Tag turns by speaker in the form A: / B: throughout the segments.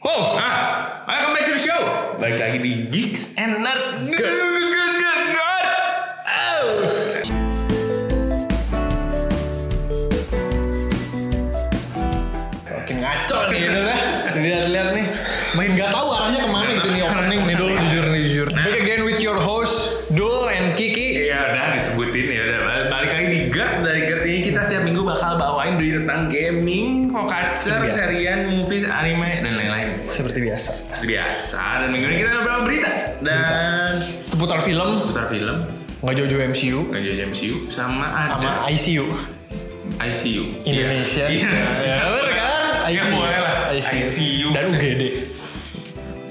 A: Ho, ah, ayo kembali to the show. Balik lagi di Geeks and Nerd. God. Oh.
B: Makin ngaco nih ini nih. Lihat-lihat nih. Makin gak tahu arahnya kemana gitu nih opening nih Dul. Nah. Jujur nih jujur. Back again with your host Dul and Kiki.
A: Iya udah disebutin ya udah balik lagi di GERD dari GERD ini kita tiap minggu bakal bawain berita tentang gaming, pop culture,
B: Biasa.
A: serian, movies, anime dan lain-lain.
B: Seperti biasa.
A: Seperti Biasa dan minggu ini kita ada berita dan
B: Seputar film.
A: putar film
B: Nggak jauh-jauh MCU.
A: lagi jam MCU sama ada
B: Sama ICU.
A: ICU
B: Indonesia.
A: Iya.
B: Ya bener kan?
A: Ya, boleh lah. ICU.
B: Dan UGD.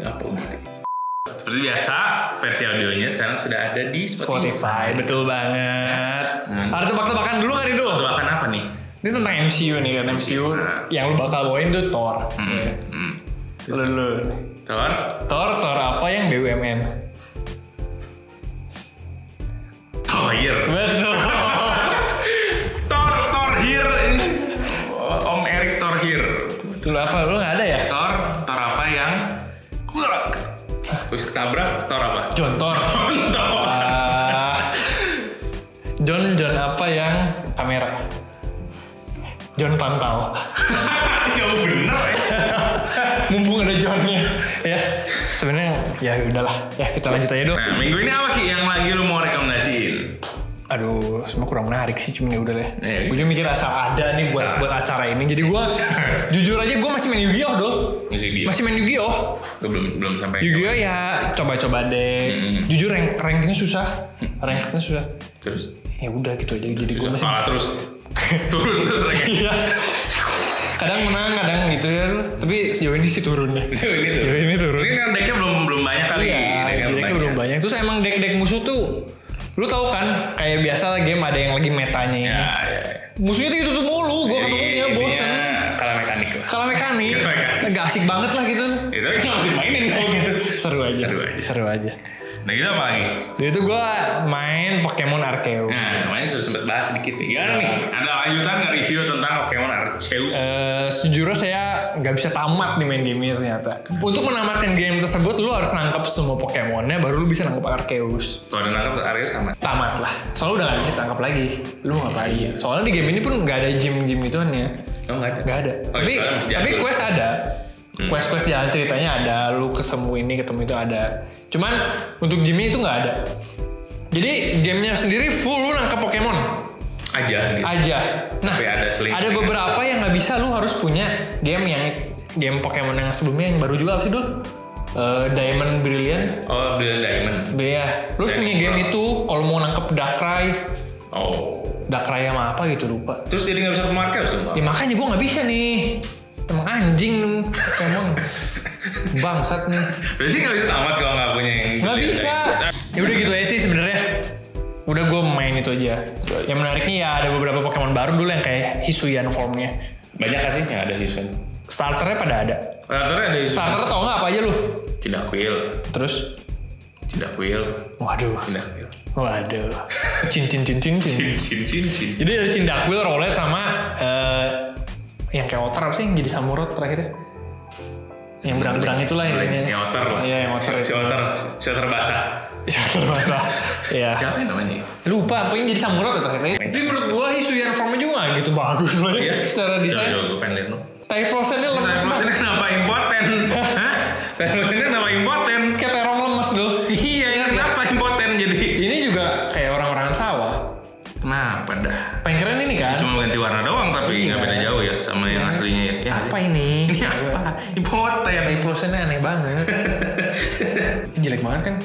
A: Apa berarti? Ya, Seperti biasa, versi audionya sekarang sudah ada di
B: Spotify.
A: Spotify.
B: Betul banget.
A: Hmm.
B: Ada tebak-tebakan dulu kan nih Dul?
A: Tebakan apa nih?
B: Ini tentang MCU nih kan. MCU
A: Nah.
B: yang lu bakal bawain tuh Thor.
A: Hmm.
B: Ya.
A: hmm.
B: Lu dulu.
A: Thor?
B: Thor, Thor apa yang BUMN?
A: Thoir.
B: Betul.
A: Thor, Thorhir. Oh, Om Erik Thorhir.
B: Lu apa? Lu nggak ada ya?
A: Thor, Thor apa yang? Terus ketabrak, Thor apa?
B: John Thor.
A: Thor.
B: Ah, John John apa yang kamera? John Pantau.
A: Jauh bener ya.
B: Mumpung ada Johnnya, ya. Sebenarnya ya udahlah, ya kita lanjut aja dong.
A: Nah, minggu ini apa Ki yang lagi lu mau rekomendasiin?
B: Aduh, semua kurang menarik sih, cuman ya udah deh.
A: Iya.
B: Gue juga mikir asal ada nih buat buat acara ini. Jadi gue jujur aja gue masih main Yu-Gi-Oh dong.
A: Musik dia.
B: Masih main Yu-Gi-Oh.
A: Gua belum belum sampai.
B: Yu-Gi-Oh ya coba-coba deh.
A: Hmm.
B: Jujur rank rankingnya susah, rankingnya susah.
A: Terus.
B: Ya udah gitu aja. Jadi gue masih
A: Salah Ah, terus. Turun terus lagi.
B: Iya. kadang menang, kadang gitu ya. Tapi sejauh ini sih turun ya.
A: Sejauh ini turun.
B: Sejauh ini turun.
A: Mungkin karena decknya belum belum banyak kali.
B: Iya,
A: Decknya
B: jeleknya belum banyak. Terus emang deck-deck musuh tuh, lu tahu kan, kayak biasa lah game ada yang lagi metanya.
A: Ya, ya. ya.
B: Musuhnya tuh gitu tuh mulu, gua
A: Jadi
B: ketemunya
A: intinya
B: bosan.
A: Kalah mekanik lah.
B: Kalau iya. mekanik,
A: Kalah mekanik.
B: gak asik banget lah gitu.
A: Itu kan masih mainin kalau
B: Iya.
A: gitu.
B: Seru aja.
A: Seru aja.
B: Seru aja.
A: Nah kita apa lagi?
B: Jadi itu gua main Pokemon Arceus.
A: Nah, kemarin sudah sempat bahas sedikit nih. Gimana nih? Ada lanjutan nggak review tentang Pokemon Arceus?
B: Iya. Eh, sejujurnya saya nggak bisa tamat nih main game ini ternyata. Untuk menamatkan game tersebut, lu harus nangkep semua Pokemonnya, baru lu bisa nangkep Arceus.
A: Kalau ada nangkep Arceus sama.
B: Tamat lah. Soalnya udah nggak bisa tangkap lagi. Lu mau ngapain?
A: Iya.
B: Soalnya di game ini pun nggak ada gym gym gituan ya.
A: Oh nggak ada.
B: Nggak ada.
A: Oh,
B: tapi
A: iya, Hmm. soalnya masih
B: tapi
A: jadul.
B: quest ada. Quest quest jalan ceritanya ada. Lu kesemu ini ketemu itu ada. Cuman untuk gymnya itu nggak ada. Jadi gamenya sendiri full lu nangkep Pokemon
A: aja gitu.
B: aja. Nah,
A: Tapi ada seling-
B: ada beberapa yang nggak bisa lu harus punya game yang game Pokemon yang sebelumnya yang baru juga apa sih dulu? Eh, Diamond Brilliant.
A: Oh Brilliant Diamond.
B: Iya, lu harus
A: Diamond
B: punya game itu kalau mau nangkep Darkrai,
A: Oh.
B: Darkrai sama apa gitu lupa.
A: Terus jadi nggak bisa ke Arceus dong? Pak?
B: Ya makanya gua nggak bisa nih. Emang anjing lu, Pokemon. Bangsat nih.
A: Berarti nggak bisa tamat kalau nggak punya yang.
B: Nggak
A: Brilliant
B: bisa.
A: Diamond.
B: Ya udah gitu aja sih sebenarnya. Udah gue main itu aja. Yang menariknya ya ada beberapa Pokemon baru dulu yang kayak Hisuian formnya.
A: Banyak nggak sih yang ada Hisuian?
B: Starternya pada ada.
A: Starternya ada Hisuian.
B: Starter tau nggak apa aja lu?
A: Tidak kuil.
B: Terus,
A: Tidak kuil.
B: waduh,
A: Tidak kuil.
B: waduh, cincin cincin cincin.
A: Cincin cincin.
B: Jadi ada cindakul, rolet sama eh, yang kayak otter apa sih yang jadi samurot terakhirnya? Yang berang-berang itulah intinya.
A: Hmm. Yang otter lah.
B: Iya yang otter.
A: Si
B: itu.
A: otter. Si otter basah.
B: Si otter bahasa. Iya.
A: Siapa yang namanya?
B: Lupa, pokoknya jadi samurot ya terakhirnya. Tapi menurut
A: gitu.
B: gua Hisuian formnya juga nggak gitu bagus banget
A: Iya.
B: secara
A: Coba,
B: desain.
A: coba, gue pengen lihat dong. Iya,
B: Typhlosionnya lemes banget.
A: Typhlosionnya kenapa impoten? Hah? Typhlosionnya kenapa impoten?
B: Kayak terong lemes dulu.
A: Iya, ini kenapa impoten jadi?
B: Ini juga kayak orang-orang sawah.
A: Kenapa dah?
B: Paling keren ini kan.
A: Cuma ganti warna doang tapi nggak
B: Iya.
A: beda jauh ya sama yang aslinya ya. ya.
B: Apa ini?
A: Ini apa? Impoten.
B: Replosennya aneh banget. Ini Jelek banget kan?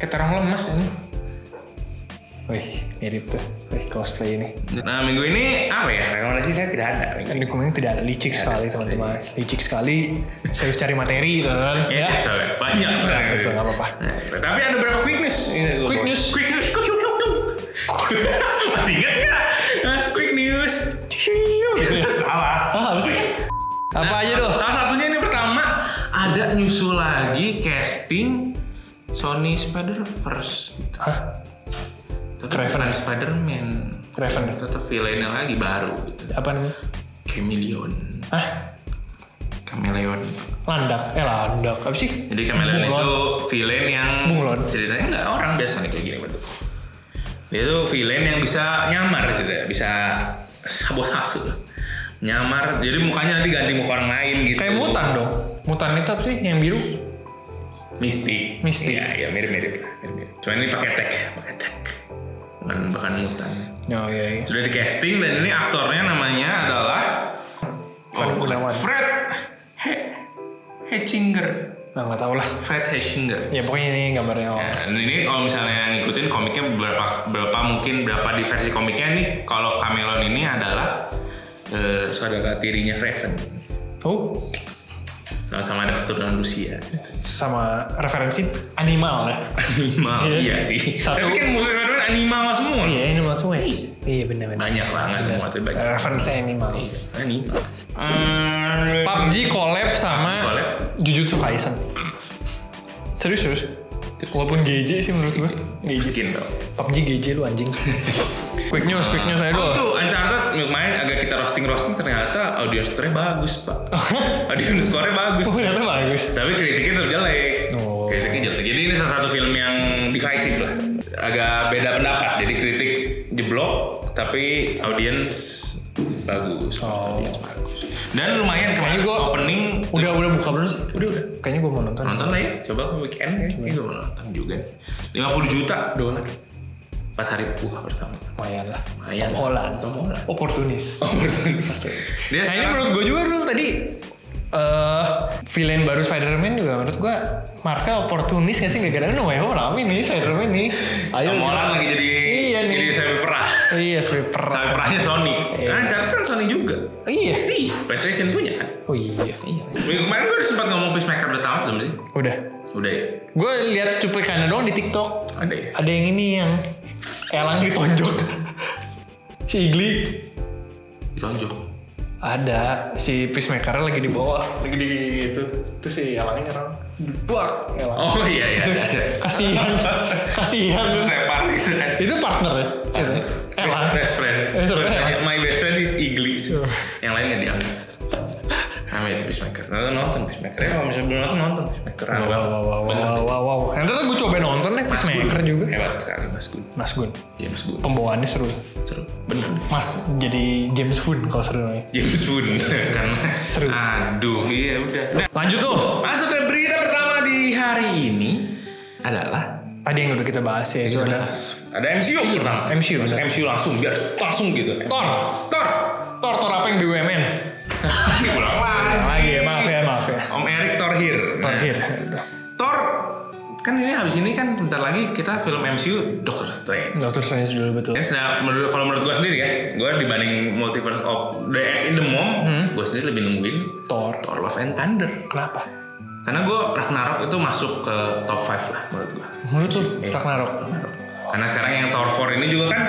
B: Kayak terong lemas ini. Wih, mirip tuh. Wih, cosplay ini.
A: Nah minggu ini apa ya? Rekomendasi saya tidak ada. minggu ini.
B: Ini dokumennya tidak ada licik sekali teman-teman. Licik sekali. Saya harus cari materi gitu kan.
A: Ya, soalnya banyak orang yang-
B: Betul, Iya, nggak apa-apa.
A: Nah, Tapi ada berapa quick news? Ini gua-
B: Quick news.
A: Quick news. Quick news. Quick news. Masih ingat nggak? Hah, Quick news. Salah.
B: Ah, apa sih? Apa aja tuh?
A: Salah satunya ini pertama ada nyusul lagi casting Sony Spider Verse.
B: Hah?
A: Tapi
B: Craven.
A: bukan Spider-Man.
B: Craven.
A: Tetap villainnya lagi baru gitu.
B: Apa namanya?
A: Chameleon.
B: Hah?
A: Chameleon.
B: landak eh landak apa sih
A: Jadi Chameleon
B: Bunglon.
A: itu villain yang
B: Bunglon.
A: ceritanya nggak orang biasa nih kayak gini bentuk. Dia itu villain yang bisa nyamar ceritanya, bisa sabotase. Nyamar, jadi mukanya nanti ganti muka orang lain gitu.
B: kayak mutan dong mutan itu apa sih yang biru
A: Mistik.
B: Mistik.
A: Ya, ya mirip-mirip lah. Mirip-mirip. Cuma ini pakai tag, pakai tag. Bukan, bukan mutan.
B: oh iya iya
A: Sudah di casting dan ini aktornya namanya adalah
B: Fred Gunawan.
A: Fred He Hechinger.
B: nah nggak tahu lah
A: Fred Hechinger.
B: ya pokoknya ini gambarnya oh.
A: Ya, dan ini kalau misalnya ngikutin komiknya berapa berapa mungkin berapa di versi komiknya nih kalau Camelon ini adalah eh, saudara tirinya Raven
B: oh
A: sama-sama ada keturunan Rusia
B: sama referensi animal ya
A: animal
B: Iya.
A: iya sih
B: Satu.
A: tapi kan musuh Raven animal semua
B: iya animal semua ya iya benar benar
A: banyak lah nggak semua tapi banyak
B: referensi animal
A: animal Eh,
B: PUBG collab sama
A: Collab.
B: Jujutsu Kaisen serius serius walaupun GJ sih menurut gue GJ
A: skin dong
B: PUBG GJ lu anjing quick news quick news aja dulu
A: Oh, tuh Uncharted main agak kita roasting roasting ternyata audience score-nya bagus pak audience score-nya bagus
B: oh ternyata bagus
A: tapi kritiknya tetap jelek
B: Oh.
A: kritiknya jelek jadi ini salah satu film yang divisive lah agak beda pendapat jadi kritik jeblok tapi audiens bagus
B: Oh.
A: Audiens bagus dan lumayan kemarin
B: Kayaknya gua-
A: opening
B: udah udah buka belum sih
A: Udah, udah.
B: kayaknya gue mau nonton
A: nonton lah ya coba ke weekend ya ini gue nonton juga 50 juta dolar 4 hari buka pertama
B: lumayan lah
A: Lumayan.
B: Tom Holland
A: Tom Holland.
B: oportunis
A: oportunis dia
B: nah ini
A: Iya, sekarang-
B: menurut gue juga dulu tadi eh villain baru Spider-Man juga menurut gue Marvel oportunis gak sih gara-gara No Way Home rame nih Spider-Man nih ayo
A: Tom Holland lagi jadi
B: Iya nih.
A: jadi saya perah
B: iya sweeper
A: saya perahnya Sony
B: Iya.
A: nah Uncharted kan Sony juga
B: iya
A: Iya, PlayStation punya kan
B: oh iya
A: Minggu kemarin gue udah sempat ngomong Peacemaker udah tamat belum sih?
B: udah
A: Udah ya?
B: gue lihat cuplikannya doang di TikTok
A: Ada ya?
B: ada yang ini yang elang ditonjok si Igli
A: Ditonjok.
B: ada si peacemaker lagi di bawah lagi di itu terus si elangnya nyerang buak elang
A: Oh iya iya ada. ada.
B: kasihan kasihan
A: Terus Tepar gitu kan.
B: itu partner ya ceritanya. elang
A: Best, best friend.
B: Eh, sebenarnya elang.
A: My best friend is Igli.
B: Sebenarnya.
A: Yang lain nggak diambil. Namanya itu Peacemaker. Nonton nonton Peacemaker. Ya kalau misalnya belum nonton nonton Peacemaker.
B: wow
A: Hebat.
B: wow wow
A: Bener.
B: wow wow wow nanti gue coba nonton deh
A: Mas Gun.
B: peacemaker juga Oh.
A: Hebat sekali Mas Gun.
B: mas Gun
A: James Gun.
B: pembawaannya seru
A: Seru. Bener.
B: mas jadi James Gunn kalau seru namanya.
A: James Gun. Karena.
B: Seru.
A: Aduh iya udah. Nah,
B: lanjut tuh
A: Masuk ke berita pertama di hari ini adalah
B: tadi yang udah kita bahas ya itu ada
A: ada MCU pertama
B: MCU,
A: Masuk
B: bener.
A: MCU langsung biar langsung gitu
B: Thor
A: Thor
B: Thor Thor apa yang BUMN
A: diulang
B: Yang
A: lagi
B: lagi ya maaf ya maaf ya Iya.
A: Om Erik Thor here
B: Thor
A: Nah,
B: here
A: Thor kan ini habis ini kan bentar lagi kita film MCU Doctor Strange
B: Doctor Strange dulu betul
A: Ya, nah, menurut kalau menurut gue sendiri ya, gue dibanding Multiverse of the X in the Mom, gue sendiri lebih nungguin
B: Hmm. Thor
A: Thor Love and Thunder.
B: kenapa
A: Karena gue Ragnarok itu masuk ke top 5 lah menurut gue.
B: menurut lu Ragnarok
A: Karena sekarang yang Tower 4 ini juga kan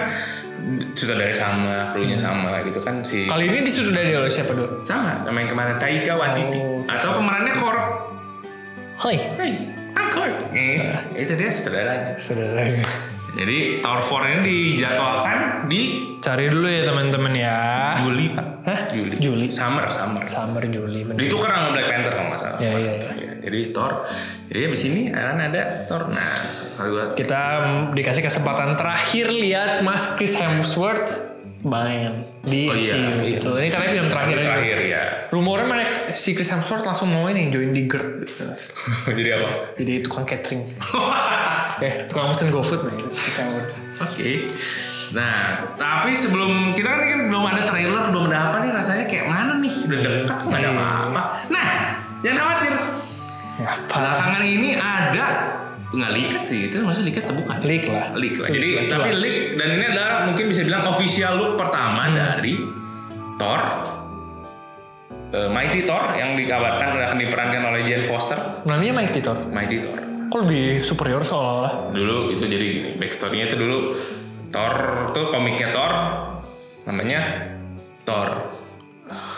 A: sutradara sama, krunya sama gitu kan si
B: kali ini disutradari oleh siapa dulu
A: sama sama yang kemarin Taika Waititi
B: Oh.
A: atau pemerannya Kor.
B: Hai
A: Hey, I'm Kor. Eh, itu dia saudaranya.
B: saudara
A: Jadi Tower 4 ini dijadwalkan di
B: cari dulu ya teman-teman ya
A: Juli Pak.
B: Hah?
A: Juli.
B: Juli.
A: Summer, summer.
B: Summer Juli bener.
A: Ditukar sama Black Panther kalau nggak salah.
B: Ya, iya, iya.
A: Ya, Jadi Thor. Jadi abis ini akan ada Thor. Nah, kalau gue
B: kita mm, dikasih kesempatan terakhir lihat Mas Chris Hemsworth main di
A: Oh, iya,
B: MCU
A: iya.
B: gitu. Ini katanya film terakhir.
A: terakhir ya.
B: Rumornya mereka si Chris Hemsworth langsung mau ini join di GERD. gitu.
A: Jadi apa?
B: Jadi tukang catering. eh, tukang mesin GoFood nih Chris Hemsworth.
A: Oke. Nah, tapi sebelum kita kan, ini kan belum ada trailer, belum ada apa nih rasanya kayak mana nih? Udah dekat nggak ada
B: Iya.
A: apa-apa. Nah, jangan khawatir.
B: Ya, apa?
A: Belakangan ini ada nggak leak sih itu maksudnya leak atau bukan?
B: Leak lah.
A: Leak lah. Jadi
B: Leak lah,
A: tapi
B: Iya, jelas. Hmm.
A: leak dan ini adalah mungkin bisa bilang official look pertama dari Thor Eh, Mighty Thor yang dikabarkan akan diperankan oleh Jane Foster.
B: Namanya Mike Titor.
A: Mighty Thor.
B: Kok lebih superior seolah-olah?
A: dulu itu jadi gini backstorynya itu dulu Thor tuh komiknya Thor namanya Thor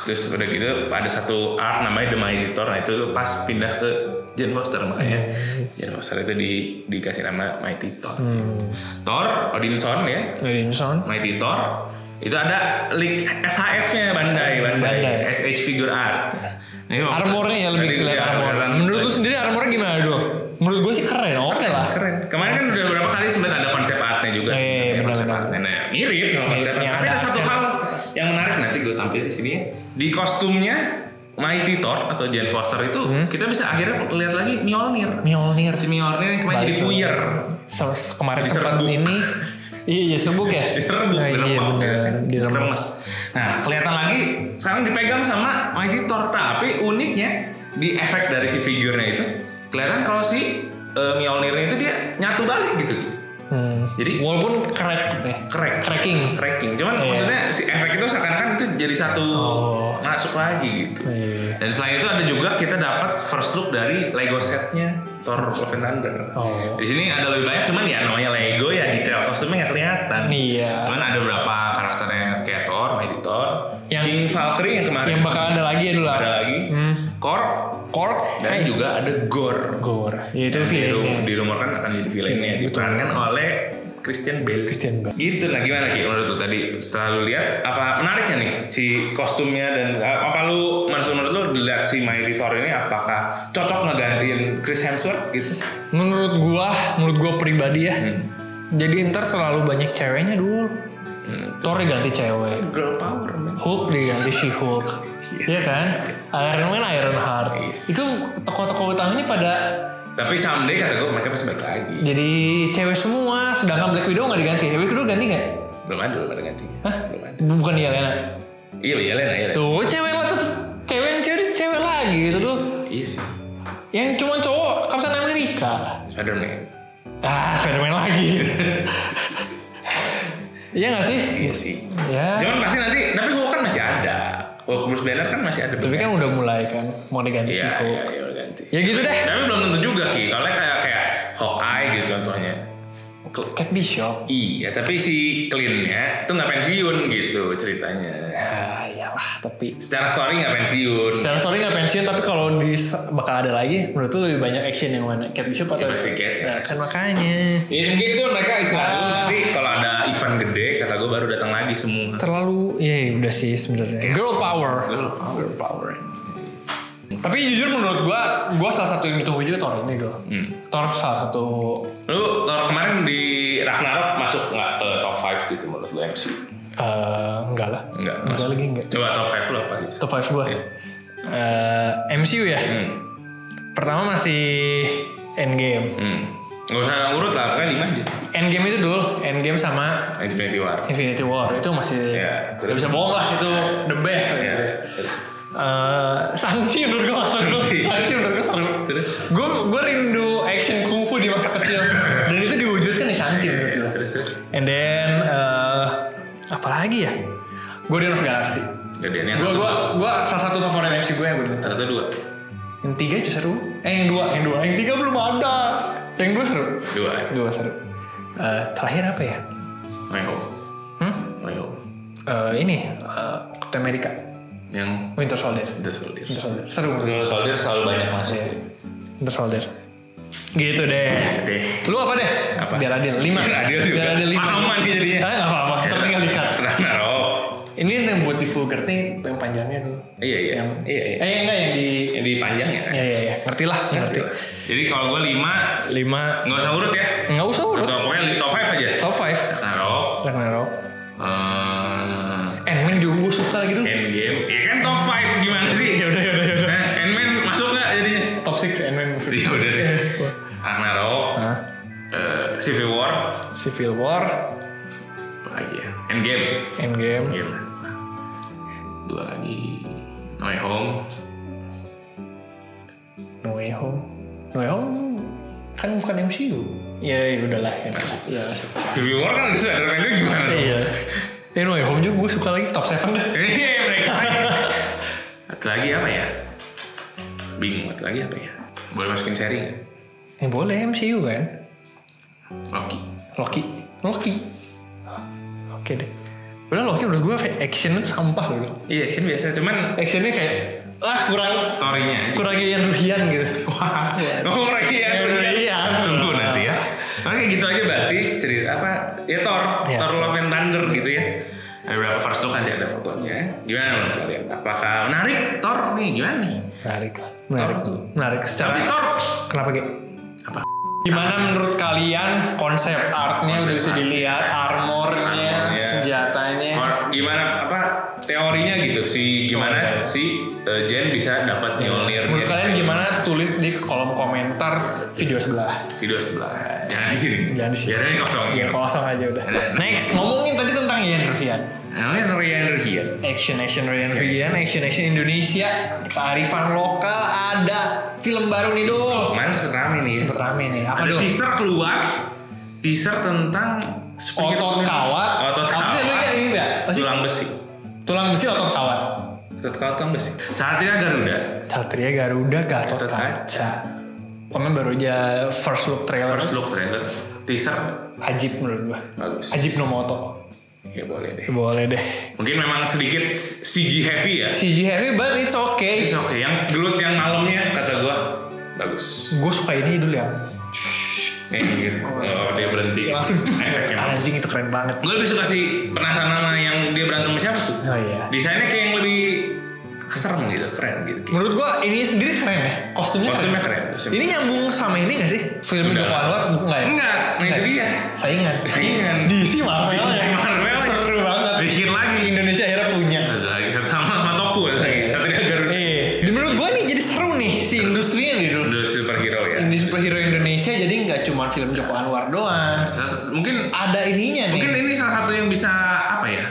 A: terus udah gitu ada satu art namanya The Mighty Thor nah itu tuh pas pindah ke Jane Foster makanya Jane Foster itu di, dikasih nama Mighty Thor Hmm. Thor Odinson ya
B: Williamson.
A: Mighty Thor itu ada link SHF-nya Bandai, Bandai,
B: Bandai.
A: SH Figure Arts. Nah, Ayo.
B: Armornya ya lebih
A: Tadi
B: kelihatan
A: ya,
B: armor.
A: kelihatan.
B: Menurut lu sendiri armornya gimana Dul? Menurut gue sih keren, oke lah.
A: Keren. Kemarin kan udah berapa kali sempat ada konsep artnya
B: Eh,
A: juga. sebenarnya,
B: benar-benar.
A: konsep artnya. Nah, mirip sama
B: Mirip,
A: konsep artnya.
B: yang
A: Tapi
B: ada
A: ada satu
B: aksen.
A: hal yang menarik nanti gue tampil di sini ya. Di kostumnya Mighty Thor atau Jane Foster itu
B: Hmm?
A: kita bisa akhirnya lihat lagi Mjolnir.
B: Mjolnir
A: Si Mjolnir yang kemarin jadi
B: Batu.
A: puyer.
B: Se- se- kemarin sempat
A: Diserbuk.
B: ini iya sebuk ya
A: Diserbuk,
B: Ah, iya
A: diremek.
B: benar diremek
A: Diremes. kan? Nah, kelihatan lagi sekarang dipegang sama Mighty Thor. Tapi uniknya di efek dari si figurnya itu kelihatan kalau si eh, Mjolnirnya itu dia nyatu balik gitu.
B: Hmm.
A: Jadi-
B: walaupun crack ya
A: crack
B: cracking
A: cracking cuman
B: Iya.
A: maksudnya si efek itu seakan-akan itu jadi satu
B: Oh.
A: masuk lagi gitu
B: Iya.
A: dan selain itu ada juga kita dapat first look dari Lego setnya Thor Love and Thunder
B: Oh.
A: di sini ada lebih banyak cuman ya namanya Lego ya detail kostumnya nggak kelihatan
B: Iya.
A: cuman ada beberapa karakternya kayak Thor, Mighty Thor
B: Yang-
A: King Valkyrie yang kemarin
B: yang bakal ada lagi ya dulu
A: ada lagi
B: Hmm. Eh.
A: Korg
B: cork
A: dan juga ada Gore
B: gore ya itu
A: Diru-
B: feelingnya
A: dirumorkan kan akan jadi villainnya
B: Villain,
A: diperankan oleh Christian Bale.
B: Christian Bale.
A: Gitu nah gimana Ki menurut lu tadi setelah lu lihat apa menariknya nih si kostumnya dan eh, apa lu maksud menurut lu dilihat si Mighty Thor ini apakah cocok ngegantiin Chris Hemsworth gitu?
B: menurut gua menurut gua pribadi ya
A: Hmm.
B: jadi ntar selalu banyak ceweknya dulu
A: Hmm.
B: Thor ganti cewek
A: Girl power man.
B: Hulk diganti si Hulk Iya kan Iron Man Iron Heart
A: Yes.
B: itu tokoh-tokoh utamanya pada
A: Tapi someday kata gue mereka pasti balik lagi.
B: jadi cewek semua sedangkan Black Widow nggak diganti Black Widow ganti nggak
A: Belum ada belum ada gantinya.
B: Hah?
A: Belum ada.
B: bukan dia Lena
A: Iya iya Lena iya Lena.
B: tuh cewek lah tuh cewek yang cewek cewek lagi gitu tuh
A: Iya sih.
B: yang cuma cowok Captain America
A: Spiderman.
B: ah Spiderman lagi iya nggak sih
A: Iya sih.
B: ya
A: Cuman pasti nanti tapi Hulk kan masih ada. Hulk Bruce Banner kan masih ada.
B: tapi kan udah mulai kan mau diganti si
A: Iya,
B: Hulk
A: iya, iya, udah ganti.
B: ya gitu deh
A: Tapi belum tentu juga Ki, kalau kayak kayak Hawkeye gitu contohnya. Ke-
B: Cat Bishop
A: Iya, tapi si Clintnya tuh nggak pensiun gitu ceritanya.
B: ah iyalah tapi
A: Secara story nggak pensiun.
B: secara story nggak pensiun tapi kalau di bakal ada lagi menurut tuh lebih banyak action yang mana Cat Bishop atau
A: Ya, pasti Cat, ya.
B: Nah, kan makanya
A: Ya mungkin itu mereka istirahat dulu.
B: Ah.
A: nanti kalau ada event gede kata gue baru datang lagi semua.
B: terlalu ya udah sih sebenarnya
A: Iya.
B: girl power girl power tapi jujur menurut gua gua salah satu yang ditunggu juga Thor ini dong
A: Hmm.
B: Thor salah satu
A: Lu Thor kemarin di Ragnarok masuk nggak ke top 5 gitu menurut lu MCU?
B: eh enggak lah
A: Enggak,
B: enggak
A: masuk.
B: lagi enggak
A: Coba top 5 lu apa gitu?
B: top 5 gua
A: Iya.
B: Eh, MCU ya
A: Hmm.
B: pertama masih Endgame
A: Hmm. Gak usah ngurut lah, kan 5 aja.
B: Endgame itu dulu Endgame sama
A: Infinity War.
B: Infinity War itu masih
A: Iya,
B: nggak bisa bohong lah itu the best
A: Iya.
B: Eh, Shang-Chi menurut gue masuk dulu
A: Shang-Chi.
B: Shang-Chi menurut gue seru
A: Terus?
B: Gue gue rindu action kungfu di masa kecil Dan itu diwujudkan di Shang-Chi menurut gue
A: Terus terus.
B: And then eh Apa lagi ya? Guardian of Galaxy
A: Gedean yang
B: Gue
A: satu.
B: gua, gua salah satu favorit MC gue yang bener
A: Satu dua.
B: Yang tiga itu seru Eh yang dua Yang dua Yang tiga belum ada Yang dua seru
A: Dua. ya.
B: Dua seru Eh, Terakhir apa ya?
A: My Home.
B: Hmm?
A: My Home.
B: Eh, ini eh, Captain America
A: Yang
B: Winter Soldier
A: The Soldier.
B: Winter Soldier Seru menurut
A: The Soldier selalu banyak masuk.
B: Iya. Ntar solder. Gitu deh.
A: Deh.
B: Lu apa deh?
A: Apa?
B: Biar adil. Lima.
A: Biar adil juga.
B: Biar adil lima.
A: Aman nih jadinya.
B: Ah, nggak apa-apa. Ntar tinggal dikat.
A: Ragnarok.
B: Ini yang buat di full guard nih yang panjangnya dulu.
A: Iya iya.
B: Yang
A: Iya iya.
B: Eh enggak yang di.
A: Yang di panjang ya. Gitu.
B: Ya ya ya. Ngerti lah. Ngerti.
A: Jadi kalau gue lima,
B: Lima.
A: nggak usah urut ya.
B: Enggak usah urut.
A: Atau pokoknya li- top five aja.
B: Top five.
A: Ragnarok.
B: Ragnarok.
A: eh,
B: Endman juga gue suka gitu.
A: Endgame. Ya kan top five gimana sih?
B: Ya udah ya udah ya udah.
A: Nah, Endman masuk nggak jadinya?
B: Top six Endman.
A: Ya udah deh.
B: Iya.
A: Ragnarok.
B: Hah?
A: eh, Civil War.
B: Civil War.
A: Apa lagi ya? Endgame.
B: Endgame.
A: Iya masuk lah. Dua lagi No Way Home.
B: No Way Home. No Way Home kan bukan MCU. Ya, ya udahlah. Ya, ya masuk.
A: Civil War kan udah Spider-Man itu gimana? dong?
B: Iya. Eh No Way Home juga gue suka lagi top 7 deh.
A: Iya mereka. Satu lagi apa ya? Bingung satu lagi apa ya? Boleh masukin seri nggak?
B: Eh boleh MCU kan?
A: Loki.
B: Loki. Loki. Oke deh. Udah Loki menurut gue action itu sampah loh.
A: Iya, kan biasa cuman
B: Actionnya kayak ah kurang
A: story-nya aja.
B: kurang yang ruhian gitu.
A: Wah, ngomong lagi ya.
B: Ya, udah, iya.
A: Tunggu nanti ya. Oke, gitu aja berarti cerita apa? Ya Thor,
B: Ya.
A: Thor Love and Thunder gitu ya. Ada beberapa first look nanti ada fotonya. Gimana menurut kalian? Apakah menarik Thor nih? Gimana nih?
B: Menarik lah. Menarik.
A: Thor tuh.
B: Menarik. Secara
A: Tapi Thor
B: Kenapa Ge?
A: apa?
B: Gimana menurut kalian konsep artnya
A: Konsep
B: udah bisa
A: art.
B: dilihat armornya,
A: Armornya.
B: senjatanya.
A: Thor- Gimana apa teorinya gitu si gimana si eh, Jen bisa dapat
B: ya.
A: Mjolnir
B: Iya. Menurut
A: Jadi
B: kalian gimana? Tulis di kolom komentar video sebelah.
A: video sebelah jangan di sini
B: Jangan di sini.
A: Biar ini kosong
B: Ya kosong aja udah.
A: Ada-
B: Next, ngomongin tadi tentang Ian Ruhian.
A: namanya Nah, Rian Rian
B: Action action Ian Ruhian, action action Indonesia, kearifan lokal ada film baru nih dong.
A: kemarin sempet rame nih
B: Sempet rame nih. Apa
A: ada
B: dong?
A: teaser keluar teaser tentang
B: Otot kawat.
A: otot
B: Apa sih lu ingat
A: kawat
B: enggak? Apa sih?
A: tulang besi
B: Tulang besi otot kawat.
A: otot kawat tulang besi Satria Garuda
B: Satria Garuda Gatot
A: Gatot
B: Kaca. Komen baru aja first look trailer.
A: first look trailer teaser
B: Ajib menurut gua.
A: bagus
B: Ajib Nomoto.
A: ya boleh deh
B: Boleh deh.
A: mungkin memang sedikit CG heavy ya
B: CG heavy but it's okay.
A: It's okay. Yang gelut yang malamnya kata gua bagus.
B: Gue suka ini dulu ya.
A: Nih, gitu. Oh, dia berhenti.
B: Langsung tuh.
A: Efeknya.
B: Anjing itu keren banget.
A: Gue lebih suka si penasaran sama yang dia berantem sama siapa tuh.
B: Oh iya.
A: Desainnya kayak yang lebih keserem gitu, keren gitu.
B: Menurut gua ini sendiri keren ya. Kostumnya,
A: Kostumnya
B: keren.
A: keren. kostumnya.
B: Ini nyambung sama ini gak sih? Film
A: Enggak.
B: Joko Anwar bukan ya?
A: Enggak, nah itu dia.
B: Saingan.
A: Saingan.
B: DC Marvel
A: DC
B: ya.
A: Marvel.
B: Seru banget.
A: Bikin lagi.
B: Indonesia akhirnya punya.
A: Ada lagi satu sama kan? Matoku ada lagi. Satria Garuda.
B: Iya. Dan menurut gua nih jadi seru nih si industrinya nih dulu.
A: Dua superhero ya.
B: Ini superhero Indonesia jadi nggak cuma film Joko Anwar doang.
A: Terus, Mungkin
B: Ada ininya nih.
A: Mungkin ini salah satu yang bisa apa ya?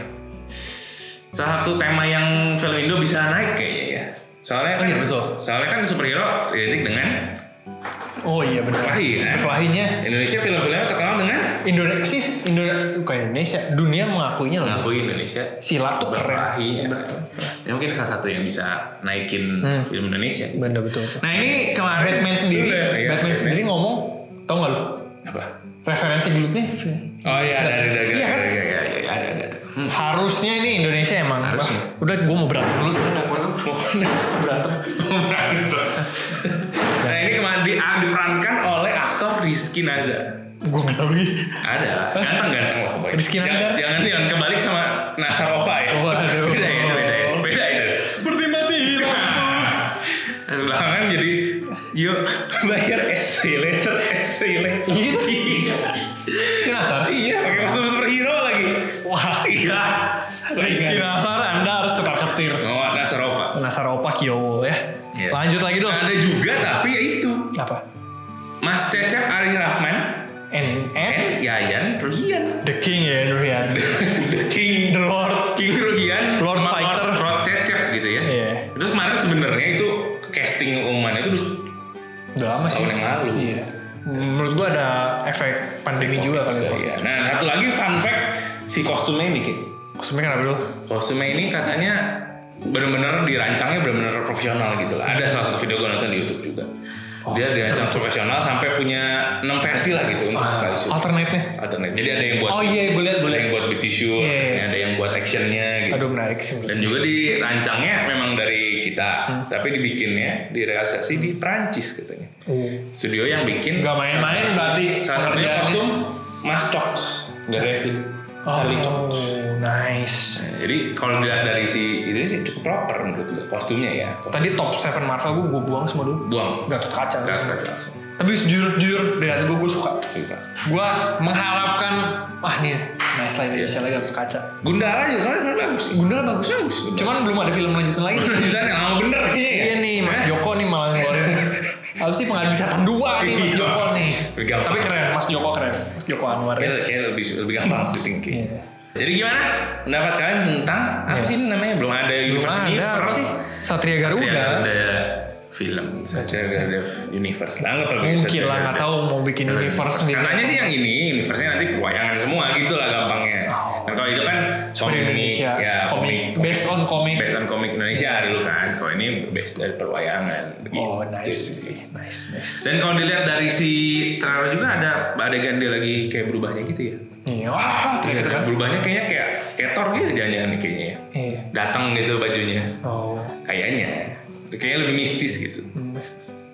A: Salah satu tema yang film Indo bisa naik kayaknya ya. Soalnya kan,
B: Iya, betul.
A: soalnya kan superhero identik dengan
B: Oh iya benar.
A: berkelahi kan.
B: Berkelahinya
A: Indonesia film-filmnya terkenal dengan
B: Indonesia sih Indonesia bukan Indonesia dunia mengakuinya loh.
A: mengakui Indonesia
B: Silat tuh keren.
A: Nah. berkelahi. Ya. Ini mungkin salah satu yang bisa naikin
B: Hmm.
A: film Indonesia.
B: Bener betul.
A: Nah ini kemarin
B: Batman sendiri,
A: Iya, iya,
B: Batman sendiri ngomong, tau nggak lu?
A: Apa?
B: Referensi glutnya
A: Oh iya ada ada ada
B: Iya, kan?
A: ada ada ada ada ada. ada. Hmm.
B: harusnya ini Indonesia emang.
A: Harusnya.
B: Wah, Udah gue mau berantem dulu sebenarnya nggak mau berantem.
A: Berantem. nah ini kemarin di, diperankan oleh aktor Rizky Nazar.
B: Gue nggak tahu lagi.
A: Ada, ganteng-ganteng lah pokoknya.
B: Rizky
A: Jangan-
B: Nazar.
A: Jangan jangan kebalik sama Nasar Opa ya.
B: Waduh.
A: Beda ya, beda ya, beda ya.
B: Seperti mati
A: Nah, belakangan jadi yuk bayar SC later, SC later.
B: Iya. Si Nasar.
A: Iya, pakai kostum superhero lagi.
B: Wah.
A: Iya.
B: Rizky Nasar, Anda harus ketar ketir.
A: Oh, Nasar Opa.
B: Nasar Opa Kiowo ya.
A: Iya.
B: Lanjut lagi dong.
A: Ada juga tapi ya itu.
B: Apa?
A: Mas Cecep Ari Rahman
B: N N
A: and Yayan Ruhian.
B: The King ya Nurhian.
A: The King
B: The Lord.
A: King Ruhian
B: Lord
A: sama
B: Fighter.
A: Lord, Lord Cecep gitu ya
B: Iya.
A: terus kemarin sebenarnya itu casting umumannya itu udah
B: Udah lama sih.
A: tahun yang lalu
B: Iya. Menurut gua ada efek pandemi juga kali kostum.
A: Iya. nah satu lagi fun fact si kostumnya ini Ki.
B: Kostumnya kenapa dulu?
A: kostumnya ini katanya benar-benar dirancangnya benar-benar profesional gitu lah ada salah satu video gue nonton di YouTube juga
B: Oh,
A: dia dirancang profesional sampai punya 6 versi lah gitu untuk sekali shoot
B: Alternate nih.
A: alternate jadi ada yang buat
B: Oh iya, gue lihat
A: ada
B: boleh.
A: yang buat beauty shoot
B: Iya, iya.
A: ada yang buat actionnya gitu
B: Aduh menarik sih. menurut
A: dan juga dirancangnya memang dari kita
B: Hmm.
A: tapi dibikinnya direalisasi di Perancis katanya
B: gua.
A: studio yang bikin
B: Gak main-main berarti.
A: salah
B: pekerjaan.
A: satunya kostum Mas Cox dari Evil Charlie Cox
B: Oh, nice.
A: Nah, jadi kalau dilihat dari si itu sih cukup proper menurut gue kostumnya ya Kostum-
B: Tadi top 7 Marvel gue gue buang semua dulu.
A: buang
B: Gatot kaca.
A: Gatot kaca langsung.
B: Tapi jujur jujur dari hati gue gue suka.
A: Gitu.
B: Gue mengharapkan wah nih nice lah Indonesia lagi Gatot kaca.
A: Gundala juga kan kan bagus
B: Gundala bagus.
A: bagus Gundala.
B: Cuman belum ada film lanjutan lagi.
A: Gundala yang lama bener kayaknya ya.
B: Iya nih Mas Joko nih malah ngeluarin Apa sih pengabdi setan dua nih Mas
A: Iya.
B: Joko nih
A: Lebih gampang.
B: Tapi keren Mas Joko keren Mas Joko Anwar ya.
A: Kayaknya kayaknya lebih lebih gampang syuting kayak.
B: Iya.
A: Jadi gimana pendapat kalian tentang apa
B: Iya.
A: sih ini namanya belum ada
B: Belum
A: universe Iya,
B: ada apa
A: universe
B: sih Satria Garuda
A: Satria Garuda film Satria Garuda universe lah nggak perlu
B: Mungkin
A: Satria
B: lah nggak
A: Garuda.
B: tahu mau bikin universe kan sendiri
A: katanya sih yang ini universe-nya nanti perwayangan semua gitu lah gampangnya
B: Oh.
A: dan kalau itu kan
B: Super
A: komik
B: Indonesia
A: ya komik
B: komik Based on komik
A: based on komik Indonesia dulu kan kalau ini based dari perwayangan
B: Oh
A: Gitu
B: nice
A: sih.
B: Nice nice
A: dan kalau dilihat dari si trailer juga ada adegan dia lagi kayak berubahnya gitu ya
B: Iya wah
A: Iya,
B: terlihat
A: kan?
B: kan
A: berubahnya kayaknya kayak ketor gitu jangan-jangan nih kayaknya ya.
B: Iya
A: Datang gitu bajunya.
B: Oh Hmm,
A: Kayaknya. Kayaknya lebih mistis gitu.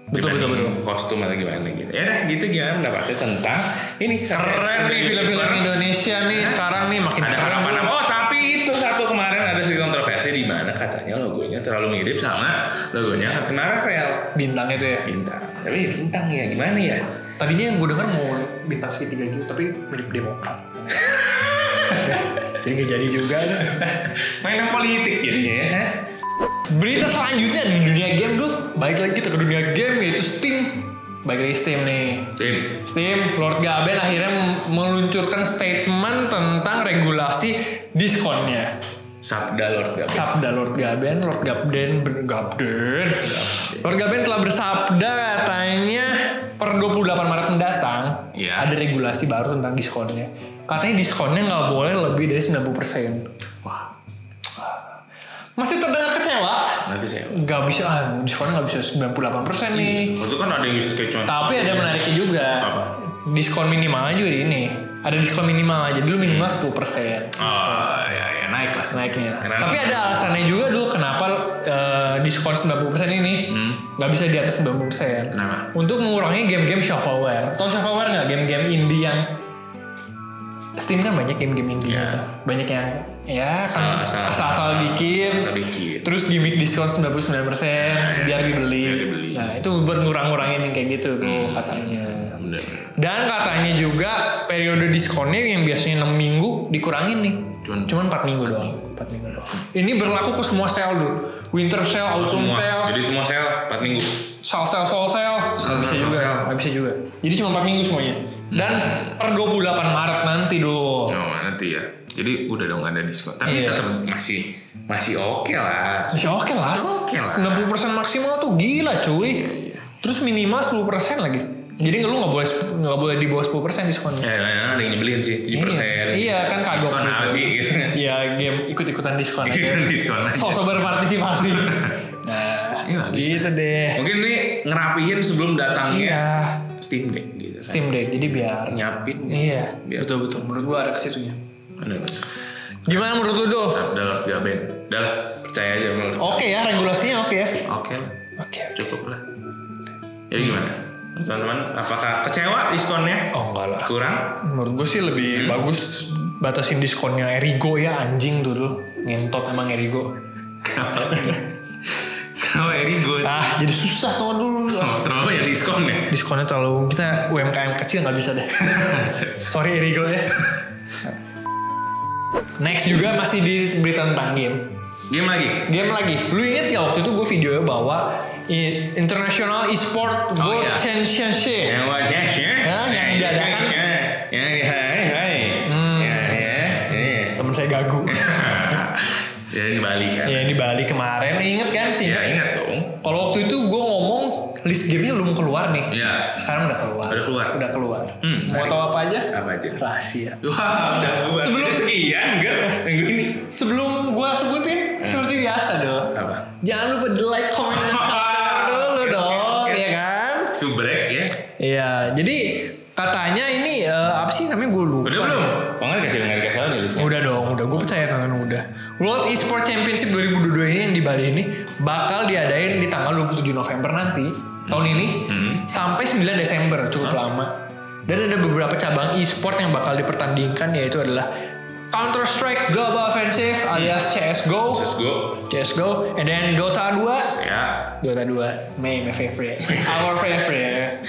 B: Betul betul betul
A: Dibanding Kostum atau gimana gitu. Ya udah gitu gimana pendapatnya tentang ini
B: Keren nih film-film Indonesia nih sekarang nih makin
A: Ada
B: keren
A: harapan apa? Oh, tapi itu lagunya terlalu mirip sama lagunya Captain Marvel
B: bintang itu ya
A: bintang tapi bintang ya gimana ya
B: tadinya yang gue denger mau bintang segitiga gitu tapi mirip demokrat jadi nggak jadi juga dah.
A: mainan politik jadinya ya hah?
B: berita selanjutnya di dunia game dulu balik lagi kita ke dunia game yaitu Steam balik lagi Steam nih
A: Tim
B: Steam, Lord Gaben akhirnya meluncurkan statement tentang regulasi diskonnya.
A: Sabda Lord Gaben
B: Sabda Lord Gaben, Lord Gaben, ben- Gaben. Lord Gaben telah bersabda katanya per 28 Maret mendatang
A: Iya.
B: ada regulasi baru tentang diskonnya. Katanya diskonnya nggak boleh lebih dari 90%.
A: wah
B: Masih terdengar kecewa?
A: nggak bisa ya
B: Nggak bisa, ah, diskonnya nggak bisa 98% nih.
A: itu kan ada yang bisa kayak cuma
B: Tapi ada yang menariknya juga.
A: Apa?
B: Diskon minimalnya juga di ini. Ada diskon minimal jadi lu minimal 10%
A: oh ya ya naik lah
B: naiknya.
A: Kenapa?
B: Tapi ada alasannya juga dulu kenapa eh, diskon 90% ini
A: Hmm.
B: nggak bisa di atas 90%.
A: Kenapa?
B: Untuk mengurangi game-game shovelware. Tau shovelware nggak game-game indie yang Steam kan banyak game-game indie
A: Ya.
B: gitu. Banyak yang ya kan
A: Ah, Asal- asal-
B: asal-asal
A: asal-
B: bikin.
A: asal bikin. Iya,
B: Terus gimmick diskon 99% biar dibeli.
A: Biar dibeli.
B: Nah, itu buat ngurang-ngurangin yang kayak gitu tuh katanya.
A: Ya, bener
B: Dan katanya juga periode diskonnya yang biasanya 6 minggu dikurangin nih.
A: Cuman-
B: Cuman, 4 minggu doang. 4 minggu doang. Ini berlaku ke semua sale dulu. Winter sale, autumn
A: semua
B: sale,
A: jadi semua sel 4 minggu
B: sale sale, sale sale. Nggak bisa
A: sale,
B: juga,
A: sale.
B: nggak bisa juga. Jadi cuma 4 minggu semuanya.
A: Hmm.
B: Dan per 28 Maret nanti dong.
A: oh nanti ya jadi udah dong ada diskon tapi
B: Iya.
A: tetap masih masih oke lah
B: Masih oke lah.
A: Oke lah. Iya,
B: 90% maksimal tuh gila cuy. Terus minimal 10% lagi. Jadi lu nggak boleh nggak boleh di bawah 10% diskonnya.
A: ya ya, ada yang nyebelin sih 7%
B: Iya, iya, kan kagok
A: diskon
B: gitu.
A: apa sih gitu
B: Iya game ikut-ikutan diskon.
A: Ikutan
B: aja.
A: diskon aja.
B: Sosok berpartisipasi.
A: Iya,
B: nah,
A: bisa.
B: gitu deh.
A: mungkin ini ngerapihin sebelum datangnya
B: Iya,
A: Steam Deck gitu kan
B: Steam Deck jadi biar.
A: nyapin ya.
B: Iya,
A: Biar-
B: betul betul. Menurut gua ada kesitunya.
A: Bener.
B: Gimana menurut lu Dul?
A: udah lah tiga band udah lah percaya aja menurut
B: Oke ya regulasinya oke ya.
A: oke lah
B: Oke.
A: cukup lah jadi gimana teman-teman apakah kecewa diskonnya
B: Oh enggak lah. Hmm.
A: kurang
B: Menurut gua sih lebih bagus batasin diskonnya Erigo ya anjing dulu. Ngentot emang Erigo.
A: kenapa kenapa ini gue
B: Ah, jadi susah tuh dulu.
A: oh, terlalu ya diskonnya
B: diskonnya terlalu kita UMKM kecil nggak bisa deh sorry Erigo ya next juga masih di berita tentang game
A: game lagi
B: game lagi lu inget gak waktu itu gue video bahwa i- International Esport World
A: iya.
B: Championship
A: yang wajah ya
B: Ya, yang dadakan.
A: ya ya hai hai
B: Hmm.
A: ya ya ya
B: temen saya gagu
A: ya ini Bali kan
B: ya ini Bali kemarin inget kan sih
A: ya ingat dong
B: kalau waktu itu gue ngomong list gamenya belum keluar nih
A: ya
B: sekarang udah keluar
A: Udah keluar.
B: udah keluar
A: Hmm,
B: mau
A: menarik.
B: tahu apa aja
A: apa aja
B: rahasia
A: Wah, udah keluar.
B: Sebelum-
A: sekian, enggak? Minggu ini
B: sebelum gue sebutin
A: Iya.
B: seperti biasa dong
A: apa?
B: Jangan lupa di like, comment, dan subscribe dulu dong,
A: Oke, oke.
B: ya kan?
A: Subrek ya?
B: Iya, jadi katanya ini eh, apa sih namanya gue lupa.
A: Udah belum? Kok nggak dikasih nggak dikasih tahu nih listnya?
B: Udah dong, udah gue percaya teman udah. World Esports Championship 2022 ini yang di Bali ini bakal diadain di tanggal 27 November nanti tahun ini
A: Hmm.
B: sampai 9 Desember cukup lama. Dan ada beberapa cabang e-sport yang bakal dipertandingkan yaitu adalah Counter Strike Global Offensive alias CS:GO,
A: Let's go.
B: CS:GO, and then Dota 2
A: Ya.
B: Dota 2 Mei my favorite our favorite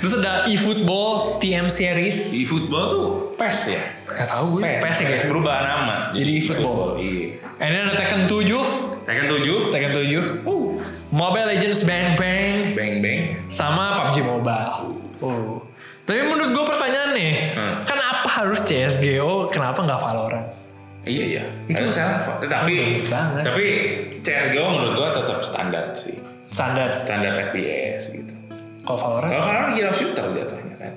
B: terus ada eFootball TM series
A: Di football tuh PES ya?
B: Nggak tahu gue. PES
A: PES
B: ya,
A: ya
B: guys.
A: berubah nama.
B: Jadi football.
A: Iya.
B: and then ada Tekken 7
A: Tekken 7.
B: Tekken 7 Mobile Legends Bang Bang
A: Bang bang.
B: sama PUBG Mobile oh tapi menurut gue pertanyaan nih
A: Hmm.
B: kenapa harus CSGO kenapa nggak Valorant
A: Iya iya.
B: Itu
A: Harus.
B: kan-
A: Tapi
B: Banyak banget.
A: tapi CS:GO menurut gua tetap standar sih.
B: standar
A: Standar FPS gitu.
B: kalau Valorant
A: Kalau Valorant hero kan shooter jatuhnya kan.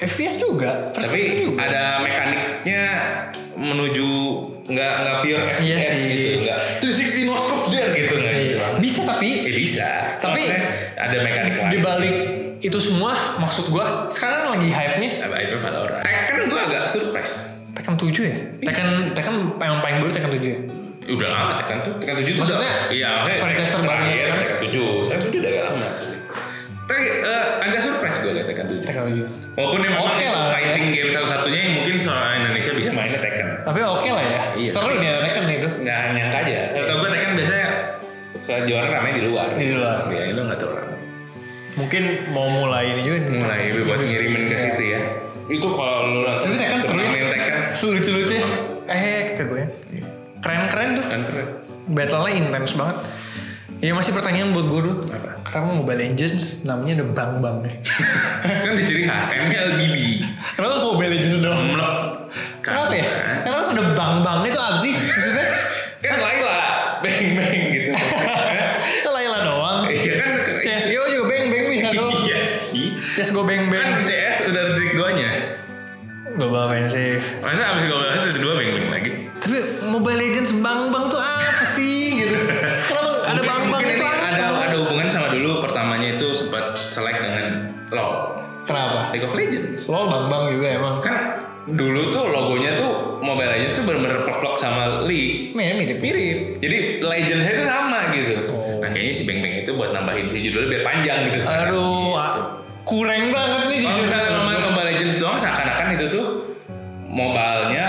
B: FPS juga first
A: tapi
B: person juga
A: ada mekaniknya menuju nggak nggak pure FPS
B: Iya sih.
A: gitu nggak 360 no scope there gitu nggak gitu
B: Iya. bisa tapi
A: ya bisa
B: Tapi-
A: Maksudnya ada mekanik lain
B: di balik itu semua maksud gue sekarang lagi hype nya
A: apa itu Valorant Tekken gue Eh, kan agak surprise
B: Tekken 7 ya?
A: Iya.
B: Tekken Tekken yang paling baru Tekken 7 ya?
A: udah lama Tekken tuh Tekken 7 tuh
B: Maksudnya,
A: udah- iya maksudnya
B: franchise terbarunya
A: terakhir
B: kan?
A: Tekken 7 Tekken 7 udah agak lama actually. tapi eh, agak surprise gue liat Tekken 7
B: Tekken
A: walaupun yang memang
B: Oke
A: itu
B: lah.
A: fighting game satu-satunya yang mungkin seorang Indonesia bisa mainnya Tekken
B: 7. Tapi oke lah ya.
A: Iya.
B: Seru nih ada Tekken itu.
A: nggak nyangka aja. Tahu gue Tekken biasanya kejuaraan ramai di luar.
B: Di luar.
A: Ya itu nggak terlalu ramai.
B: Mungkin mau mulai ini juga. nih. Iya.
A: Mulai buat ngirimin ke situ ya. Itu kalau lu nonton
B: Tapi Tekken seru.
A: turnamen Tekken
B: Lucu-lucu ya. Eh, kayak gue. Keren-keren tuh.
A: kan keren.
B: Battle-nya intens banget. Ya masih pertanyaan buat gue dulu.
A: Apa?
B: Kenapa Mobile Legends namanya ada bang-bang nih?
A: kan di ciri khas MLBB.
B: Kenapa Mobile Legends doang?
A: Omlep.
B: Kenapa ya? Kenapa harus ada bang-bang itu apa sih? Maksudnya?
A: Kan Laila beng beng gitu.
B: Itu Laila doang.
A: Iya kan ke-
B: CSGO juga beng-beng bisa dong.
A: Iya sih.
B: CSGO beng-beng.
A: Kan CS udah detik duanya.
B: Gak bakal sih.
A: Masa abis 12 detik dua beng beng lagi.
B: Tapi Mobile Legends bang-bang tuh apa sih gitu? Kenapa ada
A: Mungkin-
B: bang-bang
A: mungkin
B: itu
A: ini
B: apa?
A: ada ada hubungan sama dulu pertamanya itu sempat selek dengan LoL
B: Kenapa?
A: League of Legends
B: Lo bang-bang juga emang.
A: karena dulu tuh logonya tuh Mobile Legends tuh bener-bener plek sama League
B: Mirip mirip.
A: mirip jadi Legends itu sama gitu
B: Oh.
A: nah kayaknya si Beng Beng itu buat nambahin si judulnya biar panjang gitu sekarang
B: Aduh, ah, kurang banget nih
A: kalau
B: jujur.
A: misalnya nama Mobile Legends doang seakan-akan itu tuh mobilenya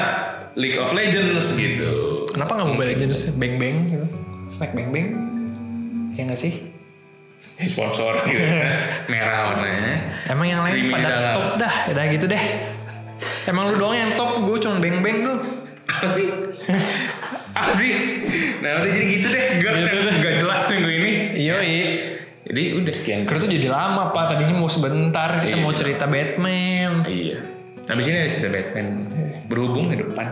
A: League of Legends gitu
B: Kenapa nggak Mobile Legends beng-beng gitu? Snack beng-beng. Ya nggak sih?
A: sponsor gitu merah warnanya
B: Emang yang lain
A: Creamy
B: pada
A: dalam.
B: top dah, udah gitu deh. Emang lu doang yang top, gue cuma beng-beng dulu.
A: apa sih apa sih nah udah jadi gitu deh gak gak jelas minggu ini
B: Iya,
A: jadi udah sekian
B: Karena tuh jadi lama pak, tadinya mau sebentar, kita
A: Iya.
B: mau cerita Batman.
A: iya habis ini ada cerita Batman berhubung di depan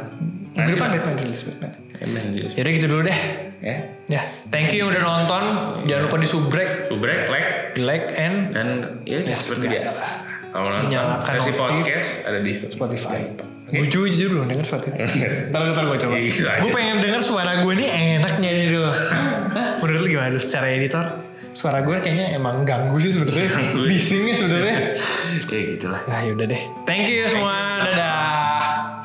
B: Minggu depan Batman rilis Batman.
A: Batman gitu
B: Yaudah gitu dulu deh.
A: ya
B: Ya, thank you yang udah nonton. Jangan lupa di subrek,
A: lu break like
B: di like, and
A: dan ya,
B: Ya,
A: seperti
B: seperti
A: biasa
B: biasa.
A: lah. kalau nonton
B: Nyalakan
A: versi
B: notif.
A: podcast ada di
B: Spotify.
A: Oke.
B: Gue jujur belum denger Spotify. Ntar ntar gue coba.
A: Iya, gitu aja.
B: Gue pengen denger suara gue ini enak nyanyi dulu. Hah? Menurut lu gimana secara editor? Suara gue kayaknya emang ganggu sih sebenarnya.
A: Ganggu.
B: Bisingnya sebenarnya. Ah,
A: ya gitulah
B: Ya yaudah deh. Thank you semua. Dadah.